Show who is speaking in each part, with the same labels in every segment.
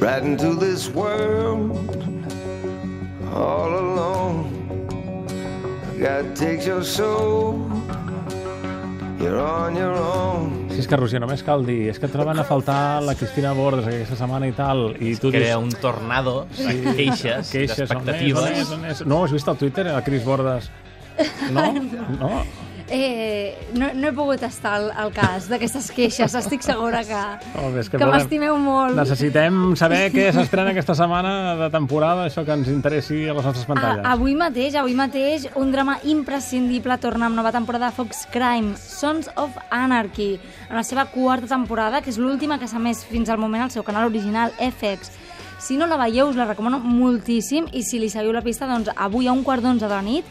Speaker 1: right into this world all alone. God takes your soul, you're on your own.
Speaker 2: Si és que, Roger, només cal dir, és que troben a faltar la Cristina Bordes aquesta setmana i tal, i tu dius...
Speaker 3: Crea un tornado de queixes,
Speaker 2: Queixes, on és, on és,
Speaker 3: d'expectatives.
Speaker 2: on és? No, has vist al Twitter, el Cris Bordes? No? No?
Speaker 4: Eh, no, no he pogut estar al, al cas d'aquestes queixes. Estic segura que,
Speaker 2: Oh, bé, és que
Speaker 4: que
Speaker 2: volem-
Speaker 4: m'estimeu molt.
Speaker 2: Necessitem saber què s'estrena aquesta setmana de temporada, això que ens interessi a les nostres pantalles.
Speaker 4: Ah, avui mateix, avui mateix, un drama imprescindible torna amb nova temporada de Fox Crime, Sons of Anarchy, en la seva quarta temporada, que és l'última que s'ha més fins al moment al seu canal original, FX. Si no la veieu, us la recomano moltíssim i si li seguiu la pista, doncs avui a un quart d'onze de la nit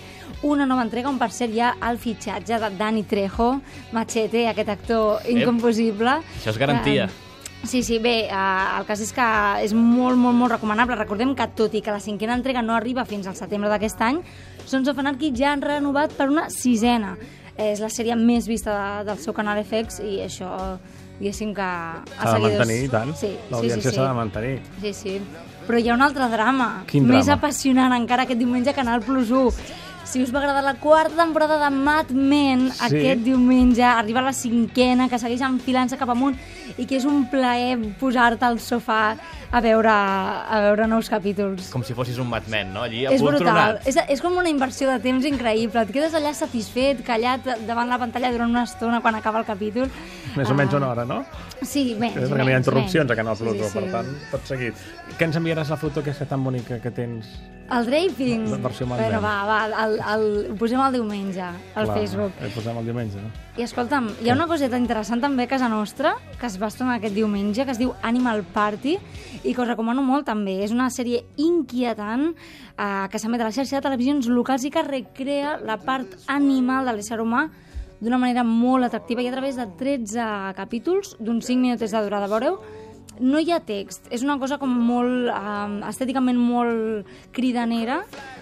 Speaker 4: una nova entrega on per cert hi ha el fitxatge de Dani Trejo, Machete, aquest actor incomposible.
Speaker 3: Això és garantia.
Speaker 4: Que, Sí, sí, bé, eh, el cas és que és molt, molt, molt recomanable. Recordem que, tot i que la cinquena entrega no arriba fins al setembre d'aquest any, Sons of Anarchy ja han renovat per una sisena. Eh, És la sèrie més vista de, del seu canal FX i això, diguéssim que...
Speaker 2: S'ha
Speaker 4: els
Speaker 2: de
Speaker 4: seguidors-
Speaker 2: mantenir, i tant.
Speaker 4: Sí,
Speaker 2: L'audiència
Speaker 4: sí, sí, sí.
Speaker 2: s'ha de mantenir.
Speaker 4: Sí, sí. Però hi ha un altre drama,
Speaker 2: Quin
Speaker 4: més
Speaker 2: drama?
Speaker 4: apassionant encara, aquest diumenge a Canal Plus 1. Si us va agradar la quarta temporada de Mad Men,
Speaker 2: Sí.
Speaker 4: sí. aquest diumenge arriba la cinquena, que segueix enfilant-se cap amunt i que és un plaer posar-te al sofà a veure, a veure nous capítols.
Speaker 3: Com si fossis un madman, no? Allí
Speaker 4: és brutal.
Speaker 3: apoltronat.
Speaker 4: És, és com una inversió de temps increïble. Et quedes allà satisfet, callat davant la pantalla durant una estona quan acaba el capítol.
Speaker 2: Més o
Speaker 4: Ah,
Speaker 2: menys una hora, no?
Speaker 4: Sí, menys,
Speaker 2: Eh,
Speaker 4: menys.
Speaker 2: perquè no hi ha interrupcions
Speaker 4: menys.
Speaker 2: a Canal Plus, sí, sí. per tant, tot seguit. Què ens enviaràs la foto aquesta tan bonica que tens?
Speaker 4: El draping.
Speaker 2: La versió Mad
Speaker 4: Bueno,
Speaker 2: Men.
Speaker 4: va, va, el, el, ho posem el diumenge al
Speaker 2: La-
Speaker 4: Facebook.
Speaker 2: La posem el diumenge, no?
Speaker 4: I escolta'm, hi ha una coseta interessant també a casa nostra, que es va estrenar aquest diumenge, que es diu Animal Party, i que us recomano molt també. És una sèrie inquietant eh, que s'emet a la xarxa de televisions locals i que recrea la part animal de l'ésser humà d'una manera molt atractiva i a través de 13 capítols d'uns 5 minutets de durada, veureu? no hi ha text, és una cosa com molt, um, estèticament molt cridanera,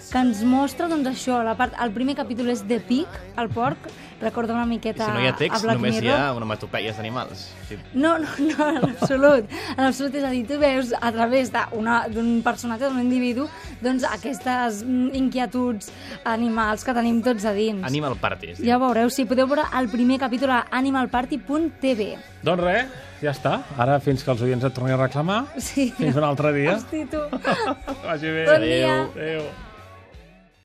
Speaker 4: que ens mostra doncs, això, la part, el primer capítol és de pic, el porc, recorda una miqueta
Speaker 3: Si no hi ha
Speaker 4: a
Speaker 3: text,
Speaker 4: Black
Speaker 3: només hi
Speaker 4: Mirror.
Speaker 3: ha onomatopeies d'animals. Sí.
Speaker 4: No, no, no, en absolut. En absolut, és a dir, tu veus a través d'una- d'un personatge, d'un individu, doncs aquestes mm, inquietuds animals que tenim tots a dins.
Speaker 3: Animal Party. es diu.
Speaker 4: Ja ho veureu, si podeu veure el primer capítol a animalparty.tv.
Speaker 2: Doncs res, ja està. Ara, fins que els oients et tornin a reclamar,
Speaker 4: Sí.
Speaker 2: fins un altre dia.
Speaker 4: Hosti, tu.
Speaker 2: Vagi bé.
Speaker 4: Bon dia.
Speaker 2: Adéu.